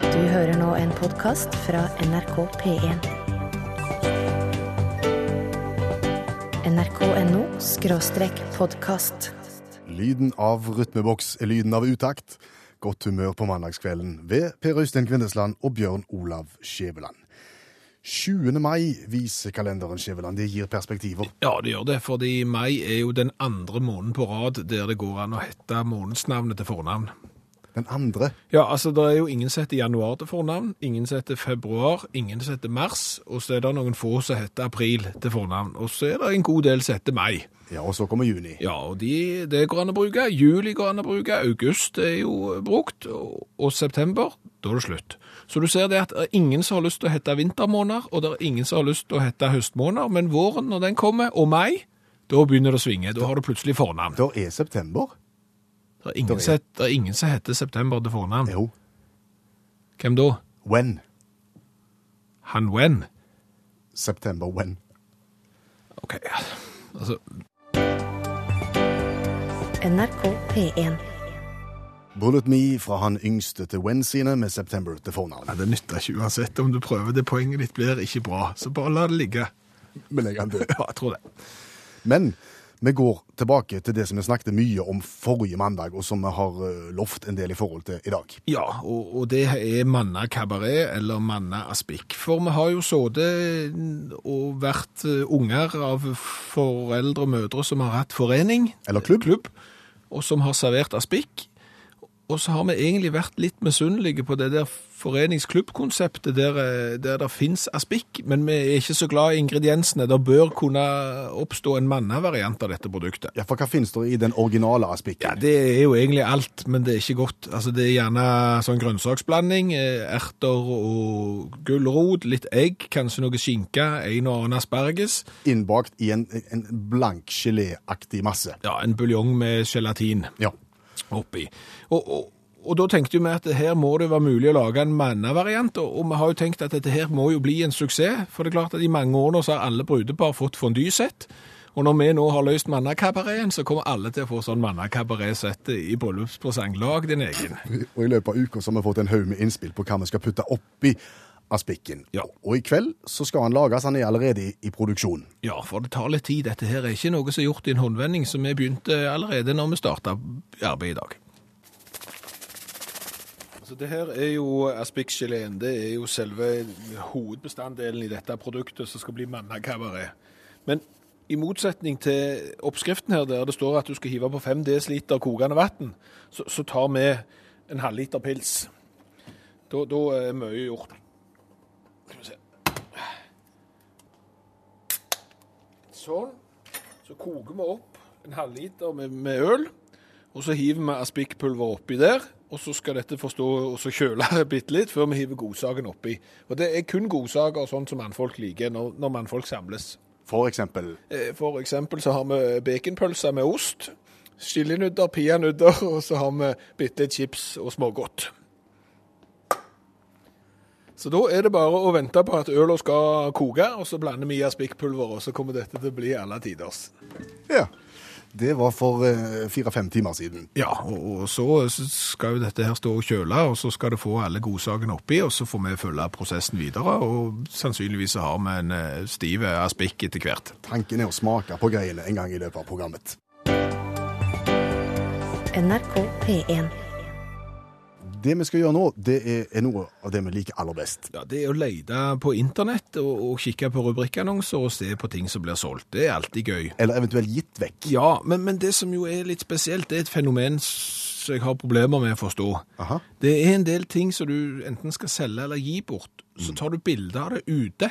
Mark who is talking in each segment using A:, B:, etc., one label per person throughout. A: Du hører nå en podkast fra NRK P1. NRK.no skråstrek podkast.
B: Lyden av rytmeboks er lyden av utakt. Godt humør på mandagskvelden ved Per Øystein Kvindesland og Bjørn Olav Skjæveland. 20. mai viser kalenderen Skjæveland. Det gir perspektiver.
C: Ja, det gjør det, fordi mai er jo den andre måneden på rad der det går an å hette månedsnavnet til fornavn.
B: Den andre
C: Ja, altså det er jo ingen som heter januar til fornavn, ingen som heter februar, ingen som heter mars, og så er det noen få som heter april til fornavn, og så er det en god del som heter mai.
B: Ja, og så kommer juni.
C: Ja, og de, det går an å bruke, juli går an å bruke, august er jo brukt, og, og september, da er det slutt. Så du ser det at det er ingen som har lyst til å hette vintermåneder, og det er ingen som har lyst til å hette høstmåneder, men våren når den kommer, og mai, da begynner det å svinge, da har du plutselig fornavn.
B: Der er september.
C: Det er ingen, som het- det er ingen som heter september til fornavn.
B: Jo.
C: Hvem da?
B: When.
C: Han Wen.
B: September when.
C: Ok, altså,
A: NRK P1.
B: Bullet Me fra han yngste til When sine med September til
C: ja,
B: fornavn.
C: det nytter ikke uansett om du prøver. Det poenget ditt blir ikke bra, så bare la det ligge.
B: Men jeg kan dø.
C: Ja, jeg tror det.
B: Men vi går tilbake til det som vi snakket mye om forrige mandag, og som vi har eh, lovt en del i forhold til i dag.
C: Ja, og, og det er Manna Cabaret, eller Manna Aspik. For vi har jo sittet mm, og vært eh, unger av foreldre og mødre som har hatt forening,
B: Eller klubb.
C: klubb, og som har servert aspikk. Og så har vi egentlig vært litt misunnelige på det der foreningsklubbkonseptet der, eh, der det finnes aspikk, men vi er ikke så glad i ingrediensene. Det bør kunne oppstå en mannavariant av dette produktet.
B: Ja, for hva finnes det i den originale aspikken?
C: Ja, det er jo egentlig alt, men det er ikke godt. Altså, det er gjerne sånn grønnsaksblanding, eh, erter og gulrot, litt egg, kanskje noe skinke, en og annen asperges.
B: Innbakt i en, en blank geléaktig masse.
C: Ja, en buljong med gelatin
B: Ja.
C: oppi. Og, og, og da tenkte vi at her må det være mulig å lage en mannavariant, og, og vi har jo tenkt at dette her må jo bli en suksess, for det er klart at i mange år nå så har alle brudepar fått fondysett, og når vi nå har løst mannakabareten, så kommer alle til å få sånn mannakabaret-sett i bryllupspresang. Lag din egen.
B: Og i løpet av uka så har vi fått en haug med innspill på hva vi skal putte oppi aspikken.
C: Ja.
B: Og i kveld så skal han lages, han er allerede i, i produksjon.
C: Ja, for det tar litt tid. Dette her er ikke noe som er gjort i en håndvending, så vi begynte allerede når vi starta arbeidet i dag. Altså, det her er jo aspikgeleen. Det er jo selve hovedbestanddelen i dette produktet som skal bli mannakabaret. Men i motsetning til oppskriften her, der det står at du skal hive på 5 dl kokende vann, så, så tar vi en halvliter pils. Da, da er mye gjort. Skal vi se. Sånn. Så koker vi opp en halvliter med, med øl, og så hiver vi aspikkpulver oppi der. Og så skal dette få stå og så kjøle bitte litt før vi hiver godsaken oppi. Og det er kun godsaker og sånt som mannfolk liker når, når mannfolk samles.
B: For eksempel
C: Eh, For eksempel så har vi baconpølser med ost, chilinudder, peanøtter, og så har vi bitte litt chips og smågodt. Så da er det bare å vente på at øla skal koke, og så blander vi i aspikkpulveret, og så kommer dette til å bli alle tiders.
B: Ja. Det var for eh, fire-fem timer siden.
C: Ja, og og så skal jo dette her stå og kjøle, og så skal det få alle godsakene oppi, og så får vi følge prosessen videre, og sannsynligvis så har vi en eh, stiv aspikk etter hvert.
B: Tanken er å smake på greiene en gang i løpet av programmet.
A: NRK P1.
B: Det vi skal gjøre nå, det er, er noe av det vi liker aller best.
C: Ja, Det er å lete på internett og, og kikke på rubrikkannonser og se på ting som blir solgt. Det er alltid gøy.
B: Eller eventuelt gitt vekk.
C: Ja, men, men det som jo er litt spesielt, det er et fenomen som jeg har problemer med å forstå.
B: Aha.
C: Det er en del ting som du enten skal selge eller gi bort.
B: Mm.
C: Så tar du bilde av det ute.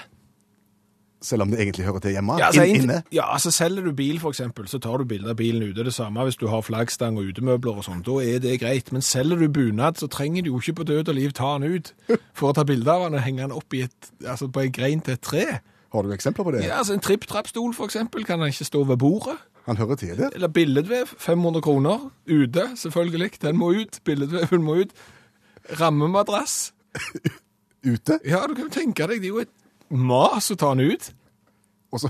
B: Selv om det egentlig hører til hjemme.
C: Ja, altså,
B: Ah, inn,
C: en-
B: inne.
C: ja, altså Selger du bil, f.eks., så tar du bilde av bilen ute. Det samme hvis du har flaggstang og utemøbler og sånn. Da er det greit. Men selger du bunad, så trenger du jo ikke på død og liv ta den ut for å ta bilde av den og henge den opp i et, altså på en grein til et tre.
B: Har du eksempler på det?
C: Ja, altså En tripp-trapp-stol, for eksempel, kan han ikke stå ved bordet.
B: Han hører til der.
C: Eller billedvev, 500 kroner. Ute, selvfølgelig. Den må ut. Billedveven må ut. Rammemadrass.
B: Ute.
C: Ja, du kan jo tenke deg, det er jo et mas å ta den ut.
B: og så,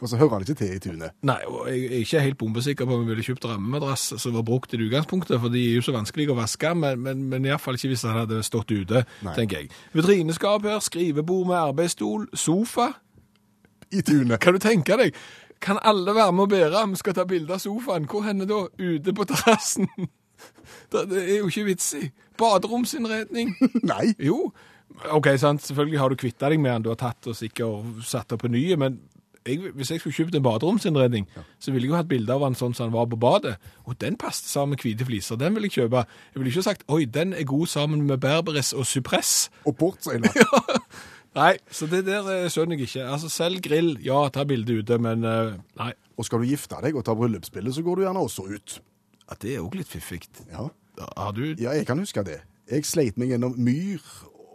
B: og så hører han ikke til i tunet.
C: Nei, og jeg er ikke helt bombesikker på om jeg ville kjøpt rammemadrass som var brukt i det utgangspunktet, for de er jo så vanskelig å vaske, men, men, men iallfall ikke hvis den hadde stått ute,
B: Nei.
C: tenker jeg. Vitrineskap her, skrivebord med arbeidsstol, sofa.
B: I tunet.
C: Kan du tenke deg? Kan alle være med og bære? Vi skal ta bilde av sofaen. Hvor henne da? Ute på terrassen. Det det er jo ikke vits i. Baderomsinnredning.
B: Nei.
C: Jo. OK, sant. Selvfølgelig har du kvitta deg med den du har tatt og sikkert satt opp på nye, men jeg, hvis jeg skulle kjøpt en baderomsinnredning, så ville jeg jo hatt bilde av den sånn som den var på badet. Og den passet sammen med hvite fliser. Den vil jeg kjøpe. Jeg ville ikke sagt 'oi, den er god sammen med berberis og sypress'.
B: Og portsøyler.
C: Nei, så det der eh, skjønner jeg ikke. Altså, Selv grill, ja, ta bilde ute, men eh, nei.
B: Og skal du gifte deg og ta bryllupsbilde, så går du gjerne også ut.
C: Ja, det er òg litt fiffig.
B: Ja.
C: Har du
B: ja, jeg kan huske det. Jeg sleit meg gjennom myr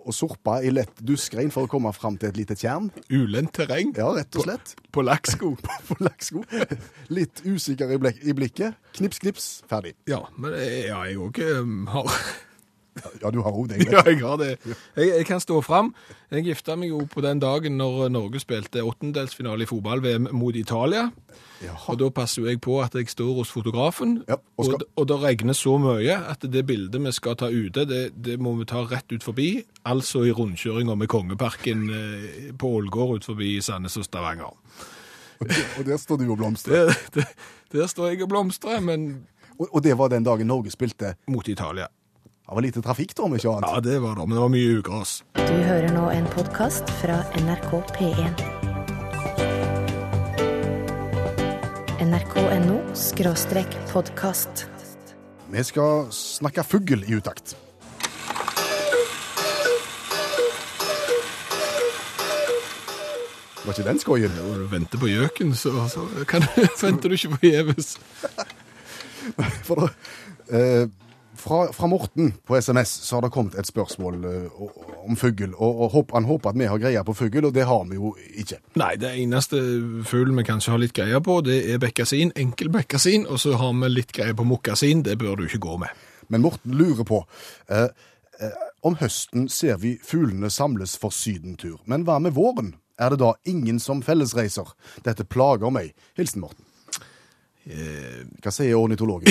B: og sorpa i lett duskregn for å komme fram til et lite tjern.
C: ulendt terreng
B: Ja, rett og slett.
C: på lakksko?
B: På lakksko. Litt usikker i, blek i blikket. Knips, knips, ferdig.
C: ja, men eh, ja, jeg òg har
B: Ja, du har òg den.
C: Ja, jeg har det. Jeg, jeg kan stå fram. Jeg gifta meg jo på den dagen når eh, Norge spilte åttendelsfinale i fotball-VM mot Italia.
B: Jaha.
C: Og da passer jo jeg på at jeg står hos fotografen,
B: Ja, og
C: og,
B: skal-
C: d- og det regner så mye at det bildet vi skal ta ute, det, det må vi ta rett ut forbi, altså i rundkjøringa med Kongeparken eh, på Ålgård ut forbi Sandnes og Stavanger.
B: Og der står du og blomstrer.
C: Det, det, der står jeg og blomstrer, men
B: Og, og det var den dagen Norge spilte.
C: mot Italia.
B: Det var lite trafikk, da, om ikke annet.
C: Ja, det var det, men det var mye ugras.
A: Du hører nå en podkast fra NRK P1. NRK.no skråstrek podkast.
B: Vi skal snakke fugl i utakt. Var ikke den skoien?
C: Når du venter på gjøken, så, så kan, venter du ikke forgjeves.
B: For da, eh, fra, fra Morten på SMS så har det kommet et spørsmål eh, om fugl. Og, og håp, han håper at vi har greie på fugl, og det har vi jo ikke.
C: Nei, det eneste fuglen vi kanskje har litt greie på, det er bekkasin, enkel bekkasin, og så har vi litt greie på mokkasin, det bør du ikke gå med.
B: Men Morten lurer på eh, eh, Om høsten ser vi fuglene samles for sydentur. Men hva med våren? Er det da ingen som fellesreiser? Dette plager meg. Hilsen Morten. Hva sier ornitologen?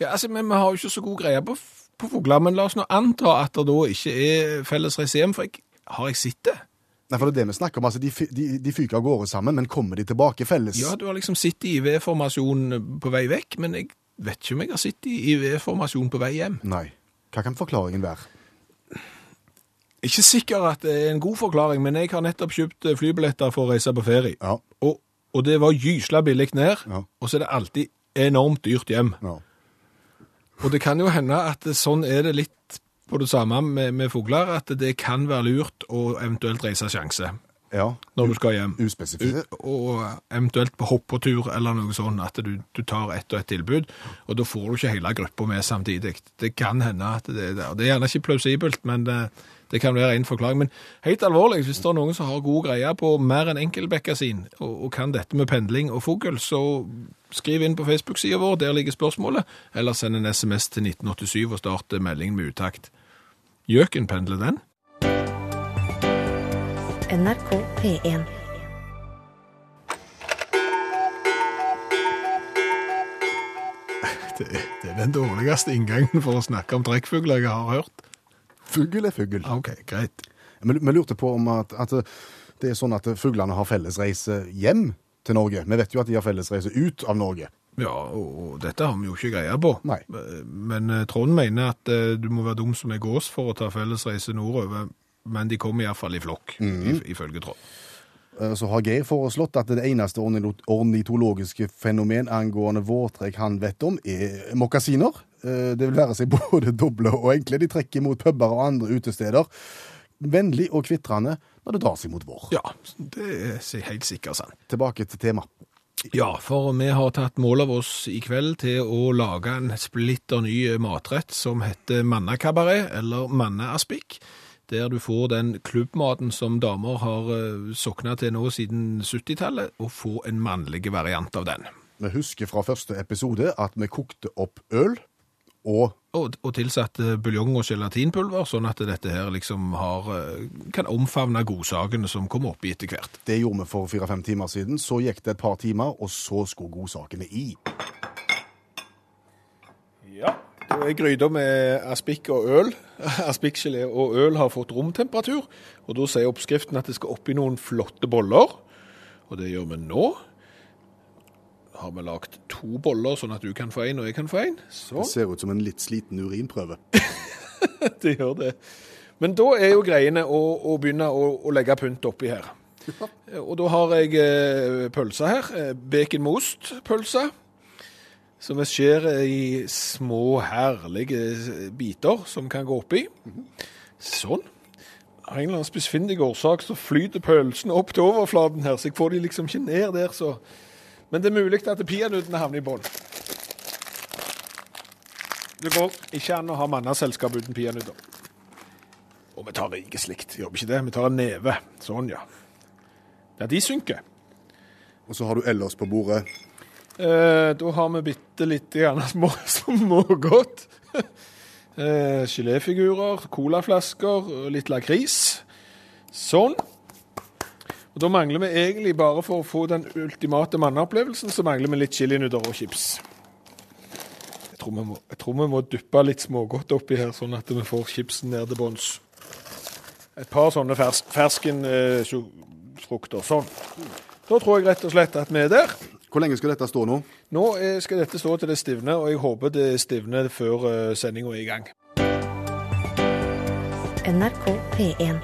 C: Ja, altså, men vi har jo ikke så god greie på, f- på fugler, men la oss nå anta at det da ikke er felles reise hjem, for jeg, har jeg sett det?
B: Nei, for det er det vi snakker om. Altså, de, fy- de, de fyker av gårde sammen, men kommer de tilbake felles?
C: Ja, du har liksom sittet i V-formasjon på vei vekk, men jeg vet ikke om jeg har sittet i V-formasjon på vei hjem.
B: Nei. Hva kan forklaringen være?
C: Ikke sikker at det er en god forklaring, men jeg har nettopp kjøpt eh, flybilletter for å reise på ferie.
B: Ja.
C: Og, og det var gysla billig ned,
B: Ja.
C: og så er det alltid enormt dyrt hjem.
B: ja.
C: Og det kan jo hende at det- sånn er det litt på det samme med, med fugler, at det kan være lurt å eventuelt reise sjanse
B: ja.
C: når du skal hjem.
B: Uspesifisert.
C: Eh, Og eventuelt på hoppetur eller noe sånt, at du, du tar ett og ett tilbud, og da får du ikke hele gruppa med samtidig. Det kan hende at det er det. Og det er gjerne ikke plausibelt, men det, det kan være en forklaring. Men helt alvorlig, hvis det er noen som har god greie på mer enn enkeltbekkasin, og, og kan dette med pendling og fugl, så skriv inn på Facebook-sida vår, der ligger spørsmålet, eller send en SMS til 1987 og start meldingen med utakt. Gjøken pendler den.
A: NRK P1.
C: Det, det er den dårligste inngangen for å snakke om trekkfugler jeg har hørt.
B: Fugl er fugl.
C: Ah, Ok, greit.
B: Vi vi lurte på om at, at det er sånn at fuglene har fellesreise hjem til Norge. Vi vet jo at de har fellesreise ut av Norge.
C: Ja, og og dette har vi jo ikke greie på.
B: Nei.
C: Men eh, Trond mener at eh, du må være dum som en gås for å ta fellesreise nordover, men de kommer iallfall i flokk, if- ifølge Trond.
B: Eh, Så har Geir foreslått at det eneste ornilo- ornitologiske fenomen angående vårtrekk han vet om, er mokkasiner. Eh, Det vil være seg både doble og enkle. De trekker mot puber og andre utesteder. Vennlig og kvitrende når det drar seg mot vår.
C: Ja, det er si- helt sikkert sant.
B: Tilbake til tema.
C: Ja, for vi har tatt mål av oss i kveld til å lage en splitter ny eh, matrett som heter mannakabaret, eller manneaspik, der du får den klubbmaten som damer har eh, sokna til nå siden 70-tallet, og få en mannlig variant av den.
B: Vi husker fra første episode at vi kokte opp øl og
C: Og, og tilsatt eh, buljong og gelatinpulver, sånn at dette her liksom har, eh, kan omfavne godsakene som kommer oppi etter hvert.
B: Det gjorde vi for fire-fem timer siden. Så gikk det et par timer, og så skulle godsakene i.
C: Ja. Det er gryter med aspik og øl. Aspikgelé og øl har fått romtemperatur. Og da sier oppskriften at det skal oppi noen flotte boller. Og det gjør vi nå. Har vi lagd to boller, sånn at du kan få en og jeg kan få en? Sånn.
B: Det
C: Så
B: ser ut som en litt sliten urinprøve.
C: det gjør det. Men da er jo greiene å, å begynne å, å legge pynt oppi her. Og da har jeg eh, pølse her. eh, Baconmost-pølse. Som jeg skjærer i små, herlige eh, biter som kan gå oppi. Sånn. Av en eller annen spissfindig årsak så flyter pølsene opp til overflaten her, så jeg får de liksom ikke ned der, så Men det er mulig at peanøttene havner i bånn. Det går ikke an å ha mannaselskap uten peanøtter. Og vi tar det ikke slikt. Gjør vi ikke det? Vi tar en neve. Sånn, ja. Ja, de synker.
B: Og så har du ellers på bordet
C: Eh, da har vi bitte lite grann små, smågodt. Eh, geléfigurer, colaflasker, og litt lakris. Sånn. Og Da mangler vi egentlig bare for å få den ultimate manneopplevelsen, så mangler vi litt chilinudder og chips. Jeg tror, vi må, jeg tror vi må dyppe litt smågodt oppi her, sånn at vi får chipsen ned til bunns. Et par sånne fersk, ferskenfrukter. sånn. Da tror jeg rett og slett at vi er der.
B: Hvor lenge skal dette stå nå?
C: Nå eh, skal dette stå til det stivner, og jeg håper det stivner før eh, sendinga er i gang.
A: NRK P1.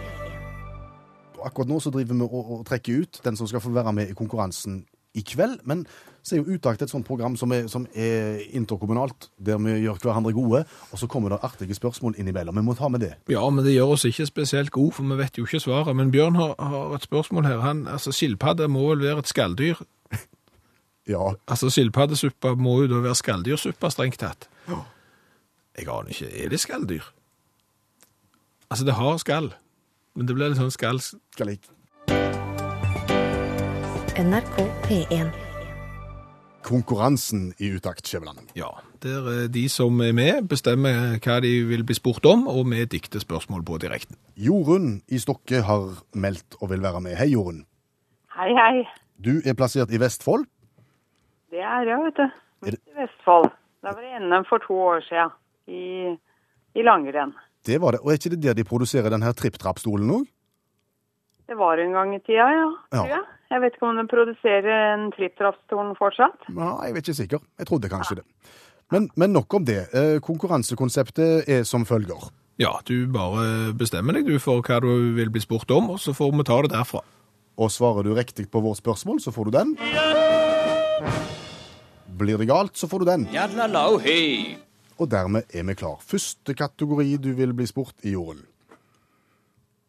B: Og Akkurat nå så driver vi og, og trekker ut den som skal få være med i konkurransen i kveld. Men så er jo Utakt et sånt program som er, som er interkommunalt, der vi gjør hverandre gode. Og så kommer det artige spørsmål innimellom. Vi må ta med det.
C: Ja, men det gjør oss ikke spesielt gode, for vi vet jo ikke svaret. Men Bjørn har, har et spørsmål her. Han, altså, Skilpadde må vel være et skalldyr?
B: Ja,
C: Altså, skilpaddesuppa må jo da være skaldyrsuppa, strengt tatt. Jeg aner ikke. Er det skalldyr? Altså, det har skall, men det blir litt sånn skall...
B: skal jeg
A: NRK P1.
B: Konkurransen i Utakt, Skjæveland.
C: Ja. Der eh, de som er med, bestemmer hva de vil bli spurt om, og vi dikter spørsmål på direkten.
B: Jorunn i Stokke har meldt og vil være med. Hei, Jorunn.
D: Hei, hei.
B: Du er plassert i Vestfold.
D: Det er jeg, vet du.
B: Er det-
D: I Vestfold. Da var det NM for to år siden i, i langrenn.
B: Det var det. Og er ikke det der de produserer den her tripp-trapp-stolen òg?
D: Det var en gang i tida, ja. Tror
B: Ja.
D: jeg. jeg vet ikke om de produserer en tripptrappstorn fortsatt.
B: Ja, jeg er ikke sikker. Jeg trodde kanskje det. Men, men nok om det. Eh, Konkurransekonseptet er som følger.
C: Ja, du bare bestemmer deg du for hva du vil bli spurt om, og så får vi ta det derfra.
B: Og svarer du riktig på vårt spørsmål, så får du den. Blir det galt, så får du den.
E: Yalla lo hey.
B: Og dermed er vi klar. Første kategori du vil bli spurt i, Jorunn.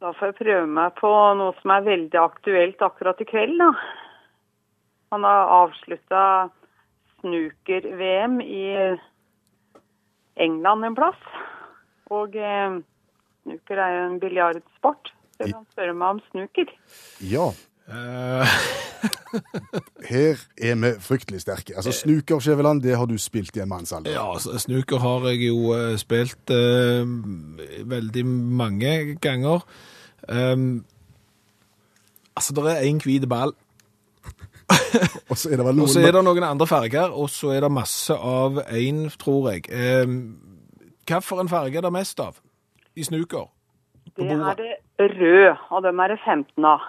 D: Da får jeg prøve meg på noe som er veldig aktuelt akkurat i kveld, da. Han har avslutta snooker-VM i England en plass. Og eh, snooker er jo en biljardsport. Så jeg kan spørre meg om snooker.
B: Ja,
C: Eh,
B: her er vi fryktelig sterke.
C: Eh.
B: Altså, Snuker, Skjæveland, det har du spilt i en mannsalder.
C: ja, s- snooker har jeg jo eh, spilt eh, veldig mange ganger. Um, altså, det er en hvit ball,
B: Og så er det vel
C: Eh. og
B: noen
C: så er det noen andre farger, og så er det masse av én, tror jeg. Um, hva for en farge er det mest av i snooker?
D: Det
C: bordet.
D: er det rød, og dem er det 15 av.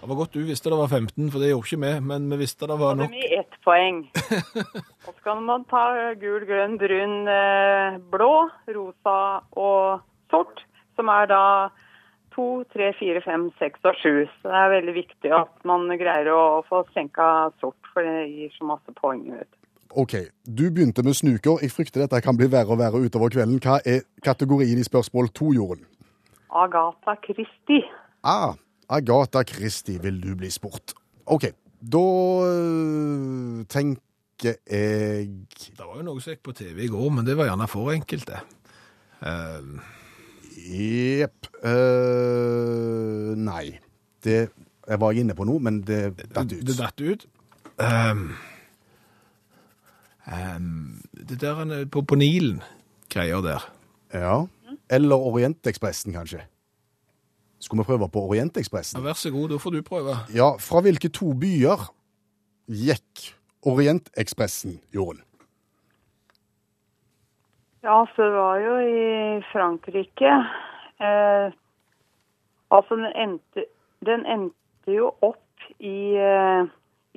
C: Det var godt du visste det var 15, for det gjorde ikke vi, men vi visste det var
D: Og
C: nok.
D: dem gir ett poeng. Og så kan man ta gul, grønn, brun, eh, blå, rosa og sort, som er da 2, 3, 4, 5, 6 og 7. Så det er veldig viktig at man greier å få senka sort, for det gir så masse poeng. Vet. du.
B: OK, du begynte med snuker. Jeg frykter dette kan bli verre og verre utover kvelden. Hva er kategorien i spørsmål to, Jorunn?
D: Agatha Christie.
B: Ah, Agatha Christie vil du bli spurt. OK, da øh, tenker jeg
C: Det var jo noe som gikk på TV i går, men det var gjerne for enkelte. Um,
B: Jepp. øh, nei. Det jeg var inne på noe, men det datt ut.
C: Det datt ut. Ehm, Ehm, det der han er på, på Nilen, greier der.
B: Ja. Eller Orientekspressen, kanskje. Skulle vi prøve på
C: Ja,
B: Orientekspressen?
C: vær så god, da får du prøve.
B: Ja, fra hvilke to byer gikk Orientekspressen, Jorunn?
D: Ja, så det var jo i Frankrike. Eh, altså, den endte, den endte jo opp i eh,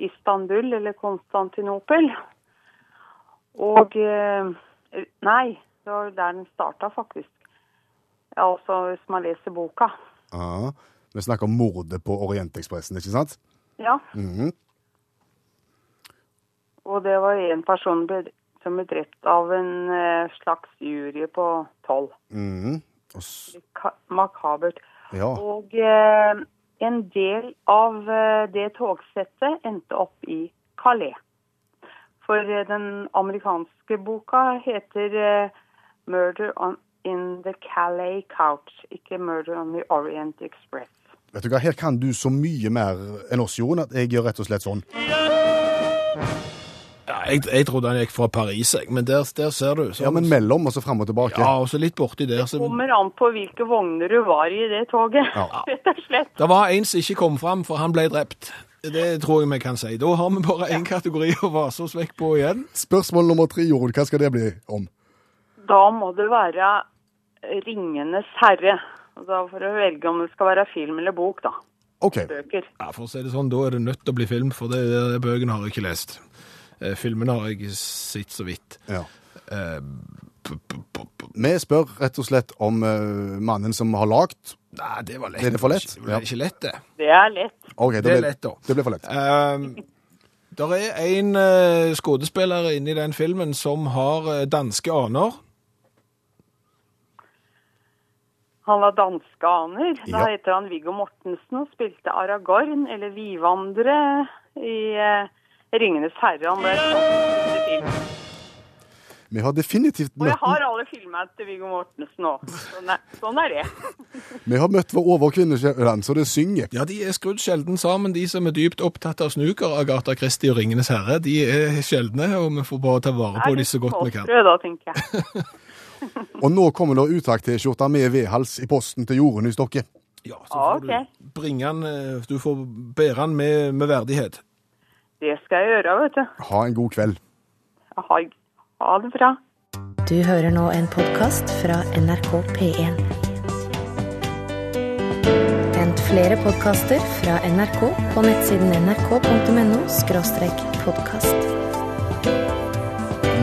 D: Istanbul, eller Konstantinopel. Og eh, Nei, det var jo der den starta, faktisk. Ja, altså, hvis man leser boka.
B: Ja. Vi snakker om mordet på Orientekspressen, ikke sant?
D: Ja.
B: Mhm.
D: Og det var en person ble, som ble drept av en eh, slags jury på tolv.
B: Mhm. Og s-
D: Ka- Makabert.
B: Ja.
D: Og eh, en del av eh, det togsettet endte opp i Calais. For eh, den amerikanske boka heter eh, 'Murder on, in the Calais Couch', ikke 'Murder on the Orient Express'.
B: Vet du hva, Her kan du så mye mer enn oss, Jorunn, at jeg gjør rett og slett sånn.
C: Ja, jeg, jeg trodde han gikk fra Paris, jeg, men der, der ser du.
B: Ja, Men mellom og så fram og tilbake.
C: Ja, og så litt borti der. Så,
D: Kommer an på hvilke vogner du var i det toget,
B: Ja.
D: rett og slett.
C: det var en som ikke kom fram, for han ble drept. Det tror jeg vi kan si. Da har vi bare én kategori å vase oss vekk på igjen.
B: Spørsmål nummer tre, Jorunn, hva skal det bli om?
D: Da må det være 'Ringenes herre'. Og Da får du velge om det skal være film eller bok, da.
B: OK.
D: Bøker.
C: Ja, for å si det sånn, da er det nødt til å bli film, for det, det bøkene har jeg ikke lest. Eh, Filmene har jeg sett så vidt.
B: Ja.
C: Eh, p- p- p- p-
B: Vi spør rett og slett om eh, mannen som har lagd.
C: Nei, det var lett.
B: Er det for lett?
C: Det ble ikke lett, det.
D: Det er lett.
B: Ok,
C: Det er
B: ble-
C: lett, da.
B: Det ble for lett.
C: Ehm, der er en eh, skuespiller inne i den filmen som har eh, danske aner.
D: Han var danske aner. Da
B: Ja.
D: heter han Viggo Mortensen og spilte Aragorn, eller Vivandre, i eh, 'Ringenes herre'. Han ble sånn film.
B: Vi har definitivt
D: Og jeg
B: møtt,
D: har alle filmene til Viggo Mortensen nå. Sånn er, sånn er det.
B: vi har møtt vår overkvinnesjøland, så det synger.
C: Ja, de er skrudd sjelden sammen, de som er dypt opptatt av snuker, Agatha Christie og Ringenes herre. De er sjeldne, og vi får bare ta vare på
D: Er
C: de så godt vi kan.
D: småstrø, da, tenker jeg.
B: Og nå kommer det utakt-T-skjorta med vedhals i posten til Jorunn i Stokke.
C: Ja, så
D: Ja,
C: får du
D: ok.
C: bringe han, eh, du får bære han med, med verdighet.
D: Det skal jeg gjøre, vet du.
B: Ha en god kveld.
D: Ha, ha det bra.
A: Du hører nå en podkast fra NRK P1. Hent flere podkaster fra NRK på nettsiden nrk.no podkast.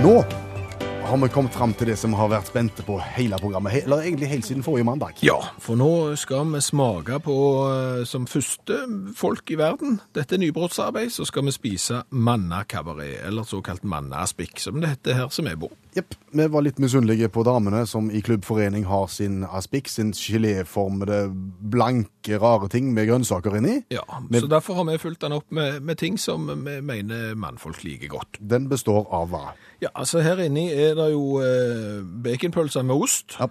B: Nå har vi kommet fram til det som har vært spente på hele programmet, he- eller egentlig helt siden forrige mandag.
C: Ja, for nå skal vi smake på, eh, som første folk i verden, dette er nybrottsarbeid, så skal vi spise mannakabaret, eller såkalt mannaspikk, som det heter her som er på.
B: Jepp. Vi var litt misunnelige på damene som i klubbforening har sin aspik, sin geléformede, blanke, rare ting med grønnsaker inni.
C: Ja,
B: Men-
C: så derfor har vi fulgt den opp med, med ting som vi mener mannfolk liker godt.
B: Den består av hva?
C: Ja, altså her inni er det jo eh, baconpølser med ost,
B: Ja.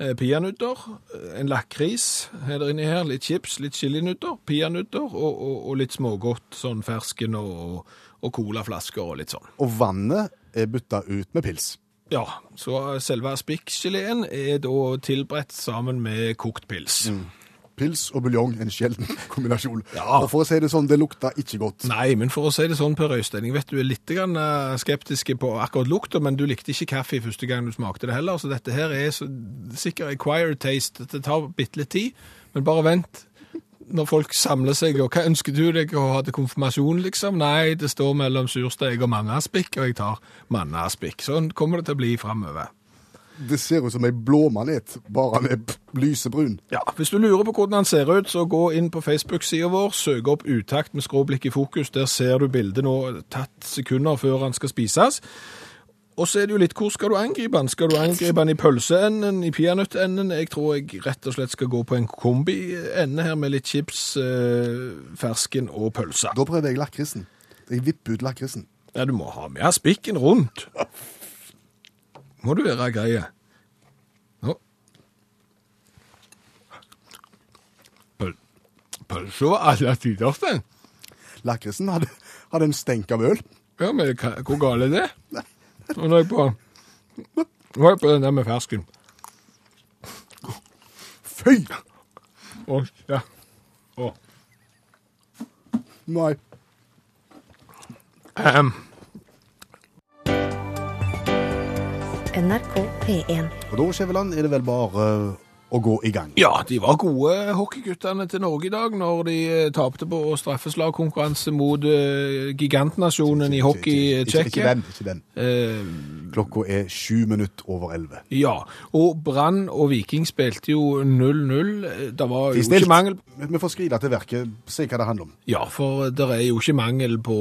C: eh, peanøtter, eh, en lakris er det inni her, litt chips, litt chilinøtter, peanøtter og, og, og litt smågodt, sånn fersken og, og colaflasker og litt sånn.
B: Og vannet er bytta ut med pils.
C: Ja, så selve aspikgeleen er da tilberedt sammen med kokt pils.
B: Pils og buljong, en sjelden kombinasjon.
C: Ja.
B: Og for å si det sånn, det lukta ikke godt.
C: Nei, men for å si det sånn, Per Øystein, jeg vet du er litt grann, eh, skeptisk på akkurat lukta, men du likte ikke kaffe første gang du smakte det heller, så dette her er så, sikkert acquired taste. Det tar bitte litt tid, men bare vent. Når folk samler seg, og hva ønsker du deg å ha til konfirmasjon, liksom? Nei, det står mellom sursteig og mannaspikk, og jeg tar mannaspikk. Sånn kommer det til å bli fremover.
B: Det ser ut som ei blåmanet, bare med p- lysebrun.
C: Ja, Hvis du lurer på hvordan han ser ut, så gå inn på Facebook-sida vår, søk opp Utakt med skråblikk i fokus. Der ser du bildet nå tatt sekunder før han skal spises. Og så er det jo litt hvor skal du angripe han? Skal du angripe han i pølseenden, i peanøttenden? Jeg tror jeg rett og slett skal gå på en kombiende her med litt chips, eh, fersken og pølse.
B: Da prøver jeg lakrisen. Jeg vipper ut lakrisen.
C: Ja, du må ha med spikken rundt. Må du være greie. Nå. Pøl- Pølse var alle tider, Stein.
B: Lakrisen hadde, hadde en stenk av øl.
C: Ja, men hva- hvor gale er det? Nå er jeg på, nå er jeg på den der med fersken.
B: Fy!
C: Å, ja. Å.
B: Nei.
C: Ahem.
A: NRK P1.
B: Og da, Skjæveland, er det vel bare eh, å gå i gang.
C: Ja, de var gode hockeyguttene til Norge i dag når de eh, tapte på straffeslagkonkurranse mot eh, gigantnasjonen i hockey
B: Ikke,
C: eh,
B: ikke
C: Tsjekkia.
B: den, ikke den.
C: Eh,
B: Klokka er sju minutter over elleve.
C: ja, og Brann og Viking spilte jo 0-0. Eh, Det var jo
B: Vi stilt.
C: ikke mangel
B: Vi får skride til verket, se hva det handler om.
C: Ja, for det er jo ikke mangel på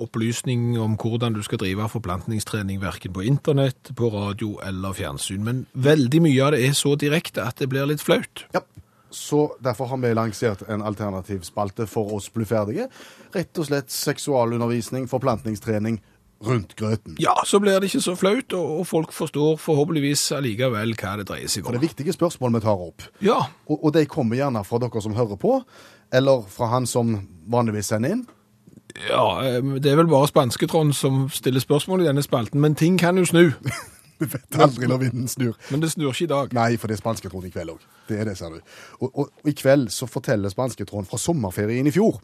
C: opplysning om hvordan du skal drive forplantningstrening, hverken på internett, på radio eller fjernsyn. Men veldig mye av det er så direkte at det blir litt flaut.
B: Ja. Så derfor har vi lansert en alternativ spalte for oss bluferdige. Rett og slett seksualundervisning, forplantningstrening rundt grøten.
C: Ja, så blir det ikke så flaut, og og folk forstår forhåpentligvis allikevel hva det dreier seg
B: For det
C: om.
B: er viktige spørsmål vi tar opp.
C: Ja,
B: Og, og de kommer gjerne fra dere som hører på, eller fra han som vanligvis sender inn.
C: ja, eh, det er vel bare Spansketrond som stiller spørsmål i denne spalten, men ting kan jo snu.
B: Du vet aldri når vinden snur.
C: Men det snur ikke i dag.
B: Nei, for det er spansketråden i kveld òg. Det er det, ser du. Og, og, og i kveld så forteller spansketråden fra sommerferien i fjor.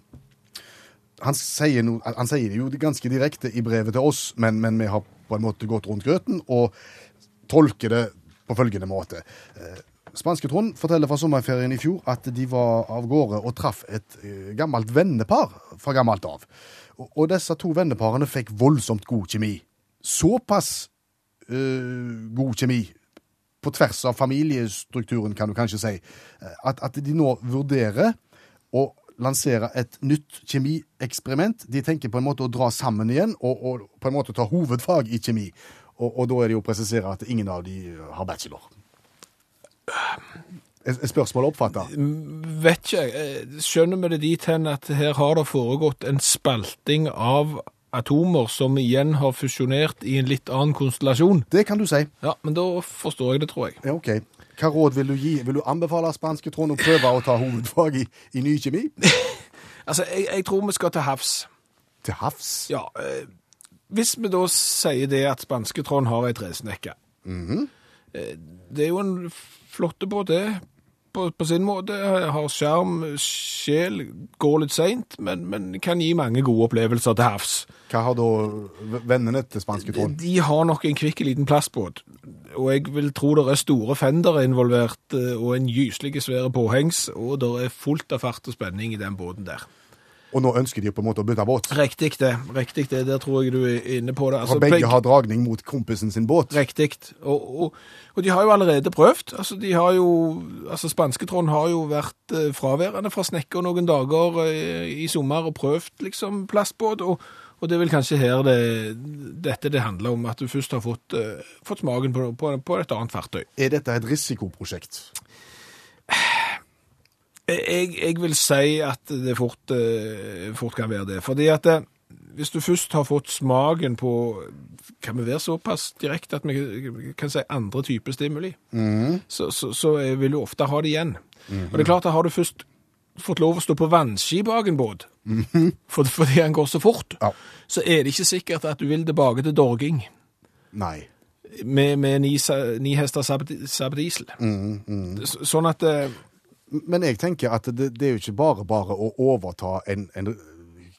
B: Han sier, no, han sier det jo ganske direkte i brevet til oss, men, men vi har på en måte gått rundt grøten og tolker det på følgende måte. Eh, Spansketråden forteller fra sommerferien i fjor at de var av gårde og traff et eh, gammelt vennepar fra gammelt av. Og, og disse to venneparene fikk voldsomt god kjemi. Såpass eh, god kjemi på tvers av familiestrukturen, kan du kanskje si, eh, at, at de nå vurderer å lansere et nytt kjemieksperiment. De tenker på en måte å dra sammen igjen og, og på en måte ta hovedfag i kjemi. Og, og da er det jo å presisere at ingen av de har bachelor. Er er spørsmålet oppfatta?
C: Vet ikke, eh, skjønner vi det dit hen at her har det foregått en spalting av atomer som igjen har fusjonert i en litt annen konstellasjon?
B: Det kan du si.
C: Ja, men da forstår jeg det, tror jeg.
B: Ja, OK. Hva råd vil du gi? Vil du anbefale spanske Trond å prøve å ta hovedfag i, i ny kjemi?
C: Altså, jeg, jeg tror vi skal til havs.
B: Til havs?
C: Ja, eh, hvis vi da sier det at spansketrond har ei tresnekke Eh, Det er jo en flotte båt, det. På, på sin måte. eh, Har skjerm, sjel, går litt seint, men, men kan gi mange gode opplevelser til havs.
B: Hva har da v- vennene til spanske Trond?
C: De har nok en kvikk liten plastbåt, og jeg vil tro det er store fender involvert, eh, og en gyselig svære påhengs, og det er fullt av fart og spenning i den båten der.
B: Og nå ønsker de på en måte å bytte båt?
C: Riktig det, riktig det, der tror jeg du er inne på det. Altså,
B: For begge har dragning mot kompisen sin båt.
C: Riktig, og, og, og de har jo allerede prøvd, altså de har jo, altså Spansketrond har jo vært eh, fraværende fra snekker noen dager eh, i sommer og prøvd liksom plastbåt, og, og det er vel kanskje her det, dette det handler om, at du først har fått, eh, fått smaken på, på, på et annet fartøy.
B: Er dette et risikoprosjekt?
C: Jeg, jeg vil si at det fort, eh, fort kan være det. Fordi at eh, hvis du først har fått smaken på Kan vi være såpass direkte at vi kan si andre typer stimuli? Så, så, så eh, vil du ofte ha det igjen. Og det er klart at har du først fått lov å stå på vannski bak en båt for, fordi han går så fort,
B: Ja.
C: så er det ikke sikkert at du vil tilbake til dorging
B: Nei.
C: med, med ni, sa- ni hester Saab- Saab diesel. Så- Sånn at eh,
B: Men jeg tenker at det, det er jo ikke bare bare å overta en, en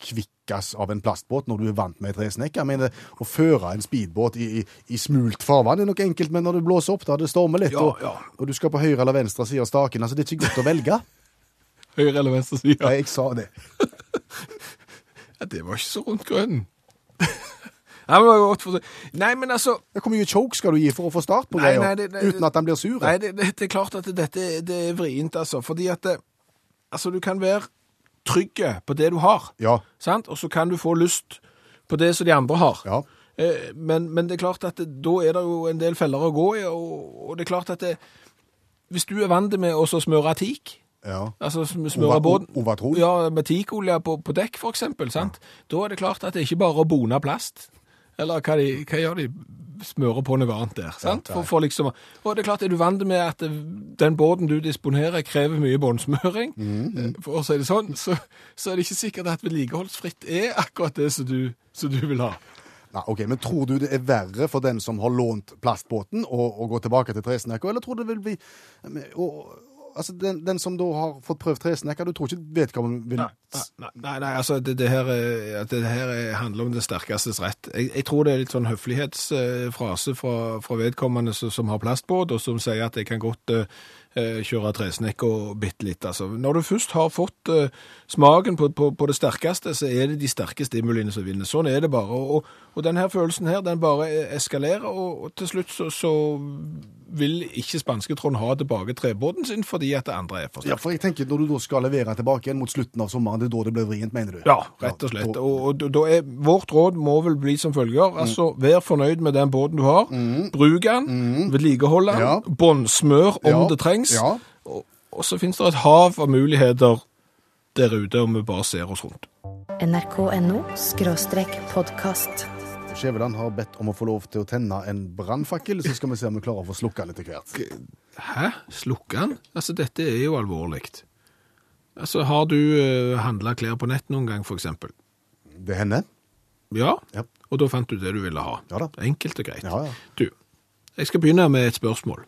B: kvikkas av en plastbåt når du er vant med et tresnekk. Jeg mener, å føre en speedbåt i, i, i smult farvann er nok enkelt, men når det blåser opp, da det stormer litt,
C: Ja,
B: og,
C: ja.
B: og du skal på høyre eller venstre side av staken, altså det er ikke godt å velge.
C: Høyre eller venstre side?
B: Nei, jeg sa det.
C: Ja, det var ikke så rundt grønnen. Nei, men, det var godt for... nei, men altså
B: Ja, Hvor mye choke skal du gi for å få start på
C: Nei,
B: greia,
C: nei, det- det-
B: uten at han blir sur?
C: Nei, det, det, det er klart at dette det er vrient, altså. Fordi at eh, altså, du kan være trygg på det du har,
B: Ja,
C: sant? og så kan du få lyst på det som de andre har.
B: ja.
C: Eh, Men, men det er klart at det, da er det jo en del feller å gå i, og, og det er klart at det, hvis du er vant med å så smøre teak
B: ja.
C: Altså sm-
B: Ova-
C: smøre båten.
B: Ovatron?
C: Ja, med teakolje på, på dekk, for eksempel. Sant? Da er det klart at det er ikke bare å bone plast. Eller hva, de, hva gjør de? Smører på noe annet der. sant?
B: nei.
C: for, for liksom, og det er klart, er du vant med at eh, den båten du disponerer, krever mye båndsmøring,
B: Mm,
C: eh, for å si det sånn, så, så er det ikke sikkert at vedlikeholdsfritt er akkurat det som du, som du vil ha.
B: Ja, ok, Men tror du det er verre for den som har lånt plastbåten, å, å gå tilbake til tresnekka, eller tror du det vil bli eh, å- Altså, den, den som da har fått prøvd tresnekka, du tror ikke vedkommende vil
C: Nei, nei, nei, nei, altså det, det her, er- at det her er- handler om det sterkestes rett. Jeg, jeg tror det er litt sånn høflighetsfrase fra, fra vedkommende som, som har plastbåt, og som sier at jeg kan godt eh, eh, kjøre tresnekk og bitte litt. Altså. Når du først har fått eh, smaken på, på, på det sterkeste, så er det de sterke stimuliene som vinner. Sånn er det bare. Og, og, og denne følelsen her, den bare eh, eskalerer, og, og til slutt så, så vil ikke spanske Trond ha tilbake trebåten sin, fordi at det andre er for sterkt.
B: Ja, for jeg tenker Når du da skal levere tilbake igjen mot slutten av sommeren, det er da det blir vrient, mener du?
C: Ja, rett og slett. Og, og da er, vårt råd må vel bli som følger. Altså, vær fornøyd med den båten du har. Bruk den, vedlikehold den,
B: Ja.
C: båndsmør om
B: Ja,
C: det trengs.
B: ja.
C: Og, og så finnes det et hav av muligheter der ute, om vi bare ser oss rundt.
A: NRK.no skråstrek podkast.
B: Skjæveland har bedt om å få lov til å tenne en brannfakkel, så skal vi se om vi klarer å få slukka den etter hvert.
C: Hæ? Slukke den? Altså, dette er jo alvorlig. Altså, har du uh, handla klær på nett noen gang, for eksempel?
B: Det hender.
C: Ja?
B: Ja.
C: Og da fant du det du ville ha?
B: Ja da.
C: Enkelt og greit.
B: Ja, ja.
C: Du, jeg skal begynne med et spørsmål.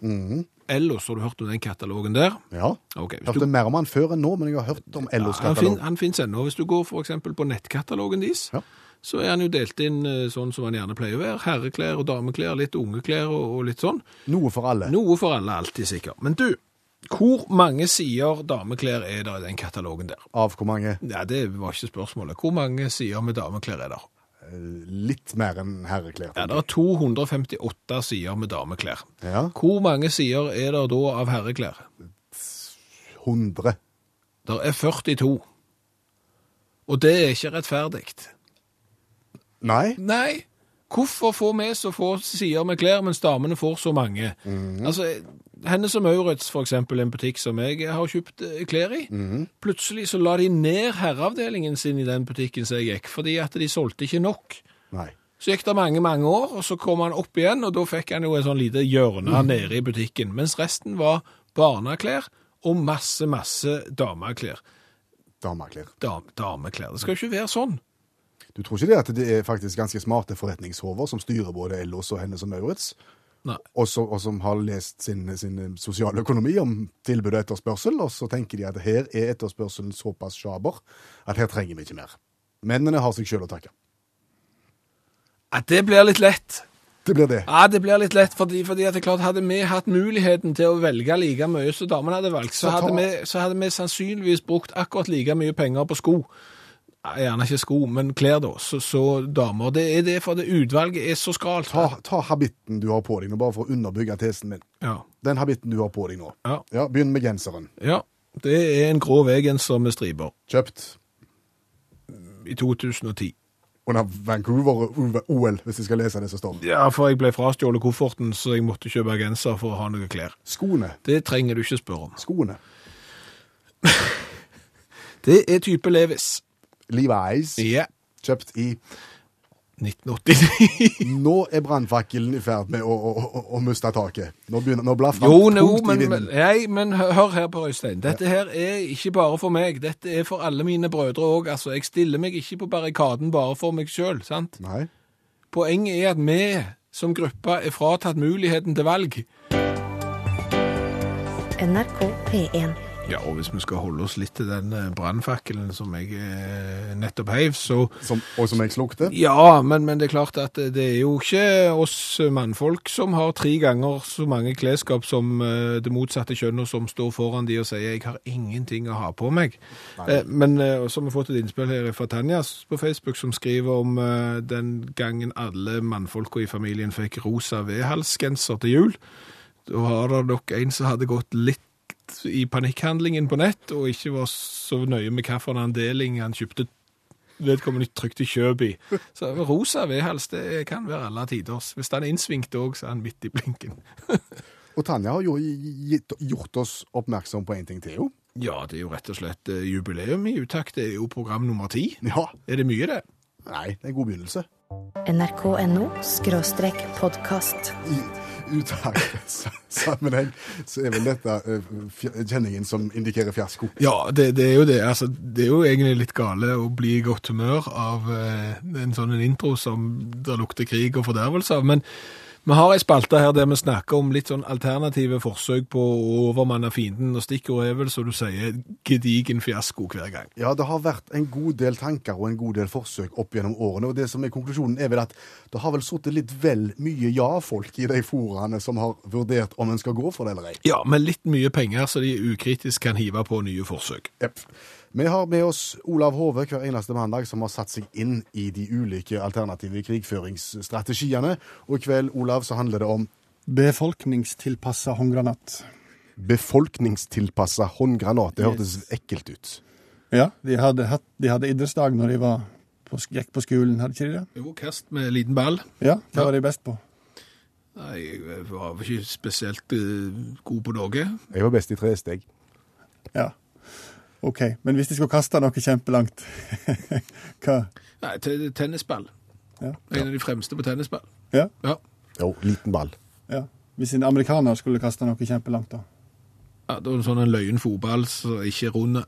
C: Ellos, har du hørt om den katalogen der?
B: Ja.
C: Ok, hvis
B: Hørte
C: du,
B: mer om han før enn nå, men jeg har hørt om Ellos
C: han, fin,
B: katalog.
C: han finnes ennå. Hvis du går for eksempel på nettkatalogen deres,
B: Ja.
C: så er han jo delt inn eh, sånn som han gjerne pleier å være. Herreklær og dameklær, litt ungeklær og, og litt sånn.
B: Noe for alle.
C: Noe for alle, alltid sikkert. Men du, hvor mange sider dameklær er det i den katalogen der?
B: Av hvor mange?
C: Nei, det var ikke spørsmålet. Hvor mange sider med dameklær er det?
B: Eh, Litt mer enn herreklær.
C: Ja, det
B: tenker
C: er 258 sider med dameklær.
B: jeg. Ja.
C: Hvor mange sider er det da av herreklær?
B: 100.
C: Det er 42. Og det er ikke rettferdig.
B: Nei?
C: Nei. Hvorfor får vi så få sider med klær, mens damene får så mange? Altså, Hennes og Maurits, for eksempel, en butikk som jeg har kjøpt eh, klær i. Plutselig så la de ned herreavdelingen sin i den butikken som jeg gikk, fordi at de solgte ikke nok.
B: Nei.
C: Så gikk det mange, mange år, og så kom han opp igjen, og da fikk han jo en sånn lite hjørne nede i butikken, mens resten var barneklær og masse, masse dameklær.
B: Dameklær.
C: Dam, dameklær. Det skal jo ikke være sånn.
B: Du tror ikke det at det er faktisk ganske smarte forretningshover som styrer både Ellos og Hennes og Maurits?
C: Nei.
B: Og, så, og som har lest sin, sin sosiale økonomi om tilbud og etterspørsel, og så tenker de at her er etterspørselen såpass sjaber at her trenger vi ikke mer. Mennene har seg sjøl å takke.
C: Ja, det blir litt lett.
B: Det blir det.
C: Ja, det blir litt lett, fordi, fordi at det er klart hadde vi hatt muligheten til å velge like mye som damene hadde valgt, så
B: Så ta-
C: hadde, vi, så hadde vi sannsynligvis brukt akkurat like mye penger på sko. Ja, Gjerne ikke sko, men klær da, så, så damer. Det er det, for det utvalget er så skralt.
B: Ta, ta habitten du har på deg nå, bare for å underbygge tesen min.
C: Ja,
B: Den habitten du har på deg nå.
C: ja,
B: Ja, Begynn med genseren.
C: ja. Det er en grå veggenser med striber
B: Kjøpt
C: i 2010.
B: under Vancouver-OL, hvis jeg skal lese det som står.
C: Ja, for jeg ble frastjålet kofferten, så jeg måtte kjøpe genser for å ha noen klær.
B: Skoene.
C: Det trenger du ikke spørre om.
B: Skoene.
C: Det er type Levis.
B: Levi's.
C: Ja.
B: Kjøpt i
C: 1989.
B: Nå er brannfakkelen i ferd med å, å, å, å miste taket. Nå begynner Nå blaffer
C: Jo, no,
B: tungt i
C: men,
B: vinden.
C: nei, men hø- hør her på Øystein. Dette her er ikke bare for meg, dette er for alle mine brødre òg. Altså, jeg stiller meg ikke på barrikaden bare for meg sjøl, sant?
B: Nei.
C: Poenget er at vi som gruppe er fratatt muligheten til valg.
A: NRK P1.
C: Ja, og hvis vi skal holde oss litt til den eh, brannfakkelen som jeg eh, nettopp heiv, så
B: Som, og som jeg slukte?
C: Ja, men, men det er klart at det er jo ikke oss mannfolk som har tre ganger så mange klesskap som eh, det motsatte kjønnet som står foran de og sier 'jeg har ingenting å ha på meg'. Eh, men eh, så har vi fått et innspill her fra Tanja s- på Facebook som skriver om eh, den gangen alle mannfolka i familien fikk rosa vedhalsgenser til jul. Da har det nok en som hadde gått litt i panikkhandlingen på nett, og ikke var så nøye med hvilken andeling han kjøpte vedkommende trykte kjøp i. Så rosa vedhals, det kan være alle tiders. Hvis den er innsvingt òg, så er den midt i blinken.
B: Og Tanja har jo gitt, gjort oss oppmerksom på én ting til, jo.
C: Ja, det er jo rett og slett eh, jubileum i utakt. Det er jo program nummer ti.
B: Ja.
C: Er det mye, det?
B: Nei, det er en god begynnelse.
A: NRK.no skråstrek podkast.
B: I, uttakssammenheng så er vel dette eh, fjer- kjenningen som indikerer fiasko.
C: Ja, det, det er jo det. Altså, det er jo egentlig litt gale å bli i godt humør av eh, en sånn en intro som der lukter krig og fordervelse av. Men vi har ei spalte her der vi snakker om litt sånn alternative forsøk på å overmanne fienden. Og stikkordet er vel, så du sier, gedigen fiasko hver gang.
B: Ja, det har vært en god del tanker og en god del forsøk opp gjennom årene, og det som er konklusjonen er vel at det har vel sittet litt vel mye ja-folk i de foraene som har vurdert om en skal gå for det eller ei.
C: Ja, med litt mye penger, så de ukritisk kan hive på nye forsøk.
B: Jepp. Vi har med oss Olav Hove hver eneste mandag, som har satt seg inn i de ulike alternative krigføringsstrategiene. Og i kveld, Olav, så handler det om
E: Befolkningstilpassa håndgranat.
B: befolkningstilpassa håndgranat. Det hørtes ekkelt ut.
E: Ja, de hadde, hatt, de hadde idrettsdag når de var på, sk- gikk på skolen, hadde ikke de det?
C: Jo, kast med liten ball.
E: Ja, Hva var de best på?
C: Nei, jeg var vel ikke spesielt eh, god på noe.
B: Jeg var best i tre steg.
E: Ja. OK. Men hvis de skulle kaste noe kjempelangt, hva
C: Nei, te- tennisball.
E: Ja.
C: En av de fremste på tennisball.
E: Ja.
C: Ja.
B: Jo, liten ball.
E: ja. Hvis en amerikaner skulle kaste noe kjempelangt, da?
C: Ja, det var en sånn en løyen fotball som ikke er rund.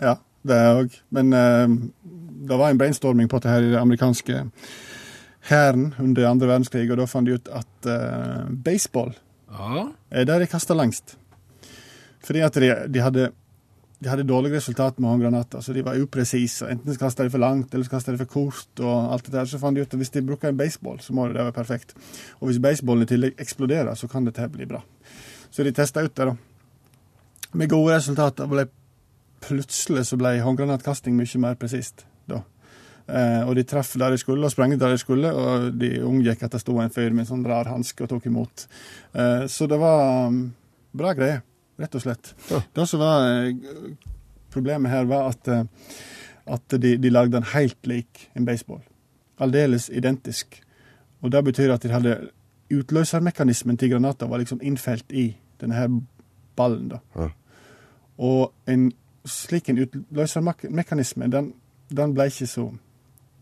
E: Ja, det er òg. Men eh, det var en brainstorming på dette her i det amerikanske hæren under andre verdenskrig, og da fant de ut at eh, baseball
C: Ja.
E: Eh, Der de kasta lengst. Fordi at de, de hadde de hadde dårlig resultat med håndgranater, så de var upresise. Enten så kasta de for langt, eller så kasta de for kort. og alt det der, Så fant de ut at hvis de bruker en baseball, så må det være perfekt. Og hvis baseballen i tillegg eksploderer, så kan dette her bli bra. Så de testa ut det, da. Med gode resultater ble plutselig så ble håndgranatkasting mye mer presist da. Eh, og de traff der de skulle, og sprengte der de skulle, og de unngikk at det sto en fyr med en sånn rar hanske og tok imot. Eh, Så det var mm, bra greier, rett og slett. Det som var eh, problemet her, var at, eh, at de, de lagde den helt lik en baseball. Aldeles identisk. Og det betyr at de hadde utløsermekanismen til granater var liksom innfelt i denne her ballen. da.
B: Ja.
E: Og en slik en utløsermekanisme, den, den ble ikke så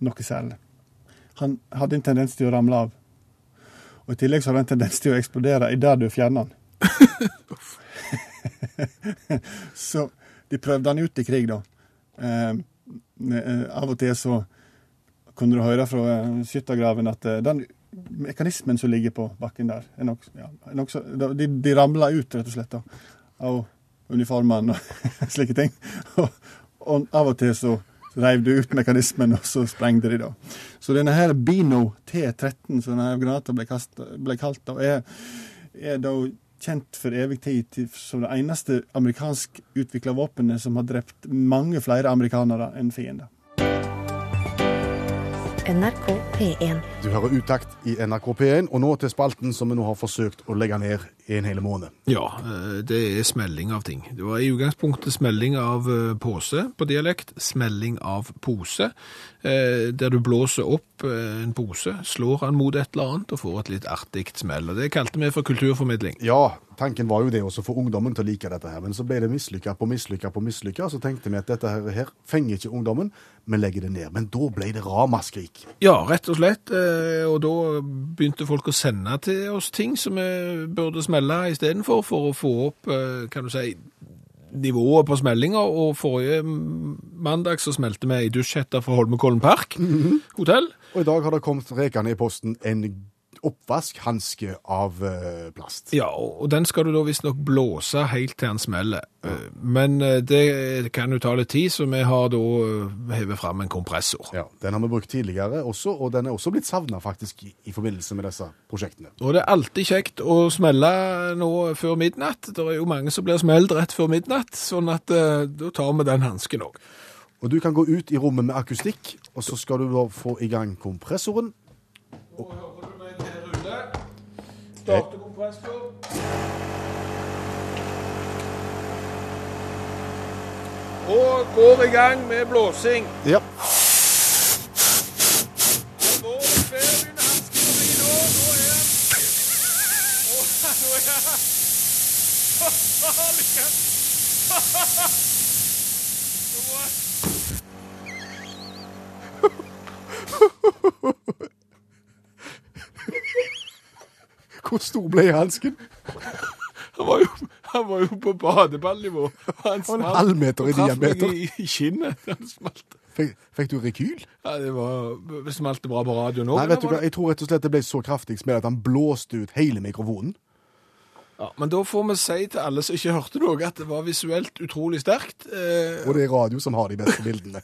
E: noe særlig. Han hadde en tendens til å ramle av. Og i tillegg så har den tendens til å eksplodere idet du fjerner den. så de prøvde han ut i krig, da. Eh, eh, av og til så kunne du høre fra eh, skyttergraven at eh, den mekanismen som ligger på bakken der er nok, ja, er nok så, de, de ramla ut, rett og slett, da, av uniformene og slike ting. Og, og av og til så reiv du ut mekanismen, og så sprengte de, da. Så denne her Bino T13, som denne granata ble, kastet, ble kalt, da, er, er da kjent for evig tid til, som det eneste amerikansk utvikla våpenet som har drept mange flere amerikanere enn fiender.
A: NRK P1.
B: Du hører utakt i NRK P1, og nå til spalten som vi nå har forsøkt å legge ned i en hel måned.
C: ja, eh, det er smelling av ting. Det var i utgangspunktet smelling av eh, pose på dialekt, smelling av pose, eh, der du blåser opp eh, en pose, slår han mot et eller annet og får et litt artig smell. Og det kalte vi for kulturformidling.
B: Ja, tanken var jo det også for ungdommen til å like dette her, men så ble det mislykka på mislykka på mislykka, så tenkte vi at dette her, her fenger ikke ungdommen, men legger det ned. Men da ble det ramaskrik.
C: Ja, rett og slett. eh, Og da begynte folk å sende til oss ting som vi burde smelle istedenfor, for å få opp eh, kan du si, nivået på smellinga. Og forrige mandag så smelte vi ei dusjhette fra Holmenkollen Park hotell.
B: Og i dag har det kommet rekende i posten en oppvaskhanske av eh, plast.
C: Ja, og og den skal du da visstnok blåse helt til den smeller. Eh, Men eh, det kan jo ta litt tid, så vi har da eh, hevet fram en kompressor.
B: Ja, Den har vi brukt tidligere også, og den er også blitt savna faktisk i, i forbindelse med disse prosjektene.
C: Og det er alltid kjekt å smelle nå før midnatt. Det er jo mange som blir smelt rett før midnatt, sånn at eh, da tar vi den hansken òg.
B: Og du kan gå ut i rommet med akustikk, og så skal du da få i gang kompressoren. Starte
C: Og går i gang med blåsing.
B: Ja. Hvor- Hvor stor ble hansken?
C: Han var jo, han var jo på badeballnivå. Han
B: var en
C: smalt
B: halv meter i
C: og traff meg
B: diameter.
C: i- I kinnet. Han smalt.
B: Fikk, fikk du rekyl?
C: Ja, det var, smalt det bra på radioen òg?
B: Nei, vet du hva? jeg tror rett og slett det ble så kraftig smell at han blåste ut hele mikrofonen.
C: Ja, men da får vi si til alle som ikke hørte noe, at det var visuelt utrolig sterkt. Eh,
B: Og det er radio som har de beste bildene.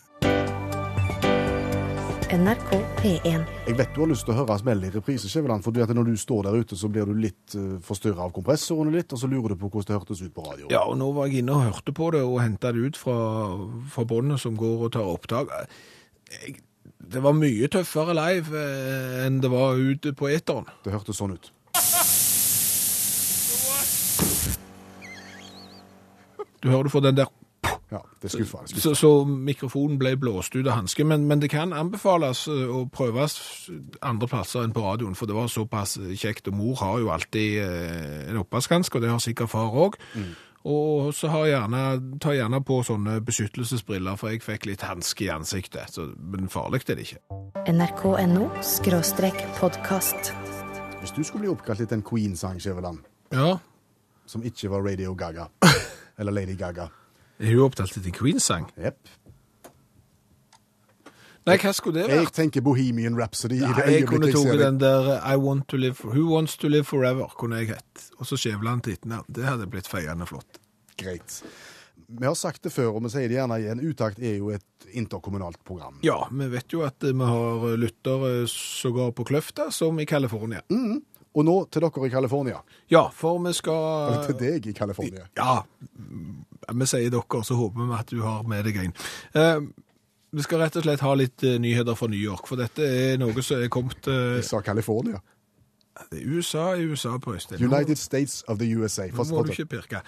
A: NRK P1.
B: Jeg vet du har lyst til å høre smellet i reprise, Skjæveland, for når du står der ute, så blir du litt uh, forstyrra av kompressorene litt, og så lurer du på hvordan det hørtes ut på radio.
C: ja, og nå var jeg inne og hørte på det og henta det ut fra, fra båndet som går og tar opptak. Jeg, det var mye tøffere live eh, enn det var ute på eteren.
B: Det hørtes sånn ut.
C: Du hører du får den der
B: Ja, det er skuffa. Det er skuffa.
C: så, så mikrofonen ble blåst ut av hansken, men, men det kan anbefales eh, å prøves andre plasser enn på radioen, for det var såpass kjekt, og mor har jo alltid eh, en oppvaskhanske, og det har sikkert far òg. Og så har gjerne, tar gjerne på sånne beskyttelsesbriller, for jeg fikk litt hanske i ansiktet, så, men farlig er det ikke.
A: NRK.no skråstrek podkast.
B: Hvis du skulle bli oppkalt etter en Queen-sang, Skjæveland,
C: Ja,
B: som ikke var Radio Gaga, eller Lady Gaga
C: er hun opptalt til en Queen-sang?
B: Jepp.
C: Nei, hva skulle det
B: Jeg
C: vært?
B: tenker Bohemian Rhapsody. i det
C: Nei, jeg
B: øyeblikket
C: kunne
B: jeg
C: tatt
B: ser det.
C: den der eh, I want to live, Who Wants to Live Forever, kunne jeg hett. Og så Skjæveland til etternavn. Det hadde blitt feiende flott.
B: Greit. Vi har sagt det før, og vi sier det gjerne igjen. Utakt er jo et interkommunalt program.
C: Ja, vi vet jo at eh, vi har lyttere sågar på Kløfta, som i California.
B: Og nå til dere i California.
C: Ja, for vi skal
B: Eller til deg i California.
C: Ja, mm, vi sier dere, så håper vi at du har med deg en. Eh, Vi skal rett og slett ha litt eh, nyheter fra New York, for dette er noe som er kommet eh,
B: Jeg sa California.
C: det er USA i USA på Øystein. Nå-
B: United States of the USA.
C: Nå må
B: Fortsett.
C: du ikke pirke.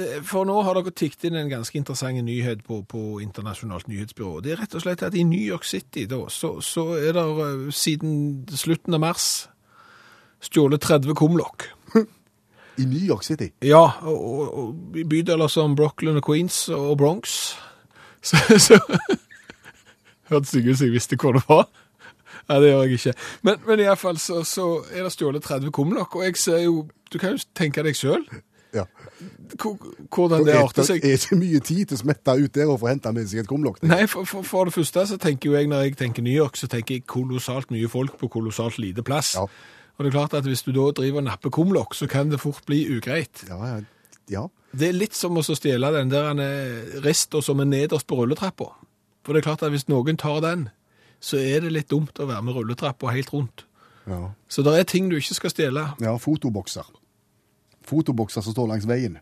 C: Eh, For nå har dere tikket inn en ganske interessant nyhet på, på internasjonalt nyhetsbyrå. Det er rett og slett at i New York City da, så, så er det eh, siden slutten av mars stjålet 30 kumlokk.
B: I New York City.
C: Ja, og, og, og i bydeler som Brooklyn og Queens og Bronx. Så, så Hørtes ikke ut som jeg visste hvor det var. Nei, det gjør jeg ikke. Men, men iallfall så, så er det stjålet 30 kumlokk, og jeg ser jo Du kan jo tenke deg sjøl
B: Ja.
C: hvordan det arter seg.
B: er ikke mye tid til å smette ut der og få henta med seg et kumlokk.
C: Nei, for, for, for det første så tenker jo jeg, når jeg tenker New York, så tenker jeg kolossalt mye folk på kolossalt lite plass.
B: Ja.
C: Og det er klart at hvis du da driver og napper kumlokk, så kan det fort bli ugreit.
B: Ja, ja, ja.
C: Det er litt som å så stjele den der eh, rista som er nederst på rulletrappa. For det er klart at hvis noen tar den, så er det litt dumt å være med rulletrappa helt rundt.
B: ja.
C: Så det er ting du ikke skal stjele.
B: ja fotobokser. Fotobokser som står langs veien.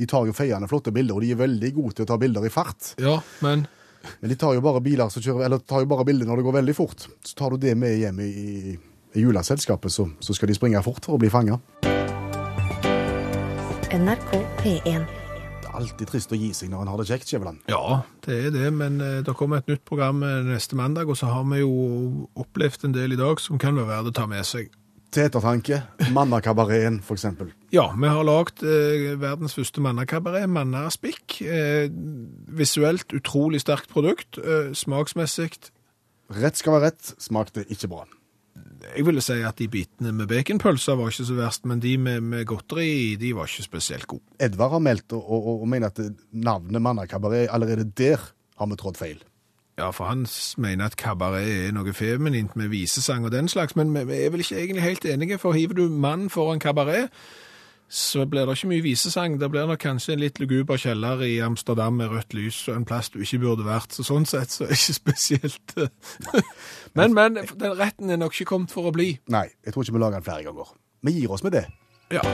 B: De tar jo feiende flotte bilder, og de er veldig gode til å ta bilder i fart.
C: Ja, men
B: Men de tar jo bare biler som kjører, eller tar jo bare bilder når det går veldig fort. Så tar du det med hjem i, i, i juleselskapet, så, så skal de springe fort for å bli fanga.
A: NRK P1.
B: Det er alltid trist å gi seg når en har det kjekt, Skjæveland.
C: Ja, det er det, men eh, det kommer et nytt program eh, neste mandag, og så har vi jo opplevd en del i dag som kan være verdt å ta med seg.
B: Til ettertanke. Mannakabareten, for eksempel.
C: Ja, vi har lagd eh, verdens første mannakabaret, Mannaspikk. Eh, visuelt utrolig sterkt produkt, eh, smaksmessig.
B: Rett skal være rett, smakte ikke bra.
C: Jeg ville si at de bitene med baconpølser var ikke så verst, men de med, med godteri i, de var ikke spesielt gode.
B: Edvard har meldt og, og, og mener at navnet Mannakabaret allerede der har vi trådt feil.
C: Ja, for han s- mener at kabaret er noe feminint med visesang og den slags, men vi vi er vel ikke egentlig helt enige, for hiver du mann foran kabaret, så blir det ikke mye visesang. Det blir nok kanskje en litt luguber kjeller i Amsterdam med rødt lys og en plass du ikke burde vært, så sånn sett så er det ikke spesielt. eh. men, men, den retten er nok ikke kommet for å bli.
B: Nei, jeg tror ikke vi lager den flere ganger. Vi gir oss med det.
C: Ja.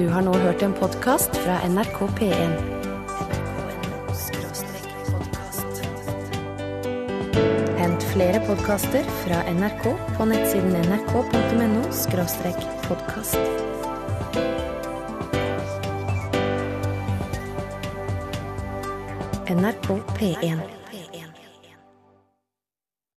A: Du har nå hørt en podkast fra NRK P1. NRK.no skråstrek podkast. Hent flere podkaster fra NRK på nettsiden nrk.no skråstrek podkast. NRK P1.